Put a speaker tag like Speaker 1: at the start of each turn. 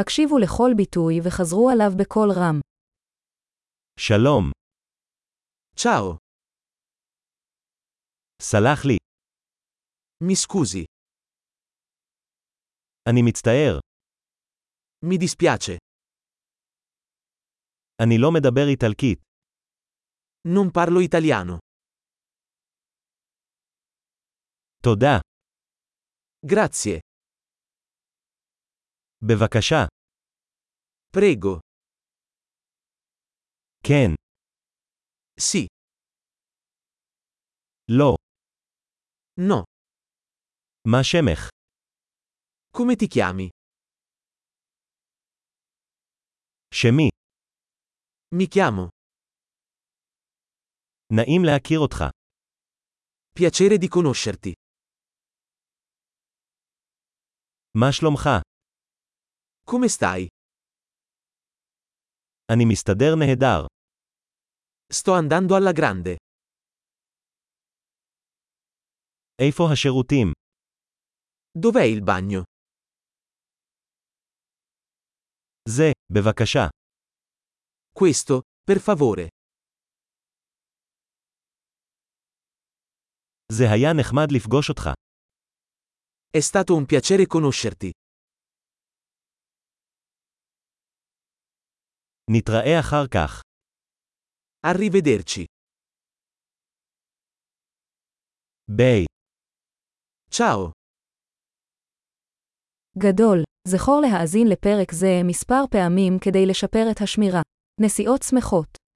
Speaker 1: הקשיבו לכל ביטוי וחזרו עליו בקול רם.
Speaker 2: שלום,
Speaker 3: Ciao,
Speaker 2: סלח לי,
Speaker 3: mi scusi,
Speaker 2: אני מצטער,
Speaker 3: mi dispiace,
Speaker 2: אני לא מדבר איטלקית,
Speaker 3: non parlo italiano.
Speaker 2: תודה,
Speaker 3: Grazie,
Speaker 2: בבקשה,
Speaker 3: prego,
Speaker 2: כן,
Speaker 3: sì,
Speaker 2: לא,
Speaker 3: no,
Speaker 2: מה שמך,
Speaker 3: come ti chiami?
Speaker 2: שמי,
Speaker 3: Mi chiamo,
Speaker 2: נעים להכיר אותך,
Speaker 3: piacere di conoscerti.
Speaker 2: מה שלומך,
Speaker 3: Come stai?
Speaker 2: אני מסתדר נהדר,
Speaker 3: Sto andando alla grande.
Speaker 2: איפה השירותים,
Speaker 3: Dov'è il bagno?
Speaker 2: זה, בבקשה,
Speaker 3: Questo, per favore.
Speaker 2: זה היה נחמד לפגוש אותך,
Speaker 3: È stato un piacere conoscerti.
Speaker 2: נתראה אחר כך,
Speaker 3: Arrivederci.
Speaker 2: ביי,
Speaker 3: Ciao.
Speaker 1: גדול, זכור להאזין לפרק זה מספר פעמים כדי לשפר את השמירה. נסיעות שמחות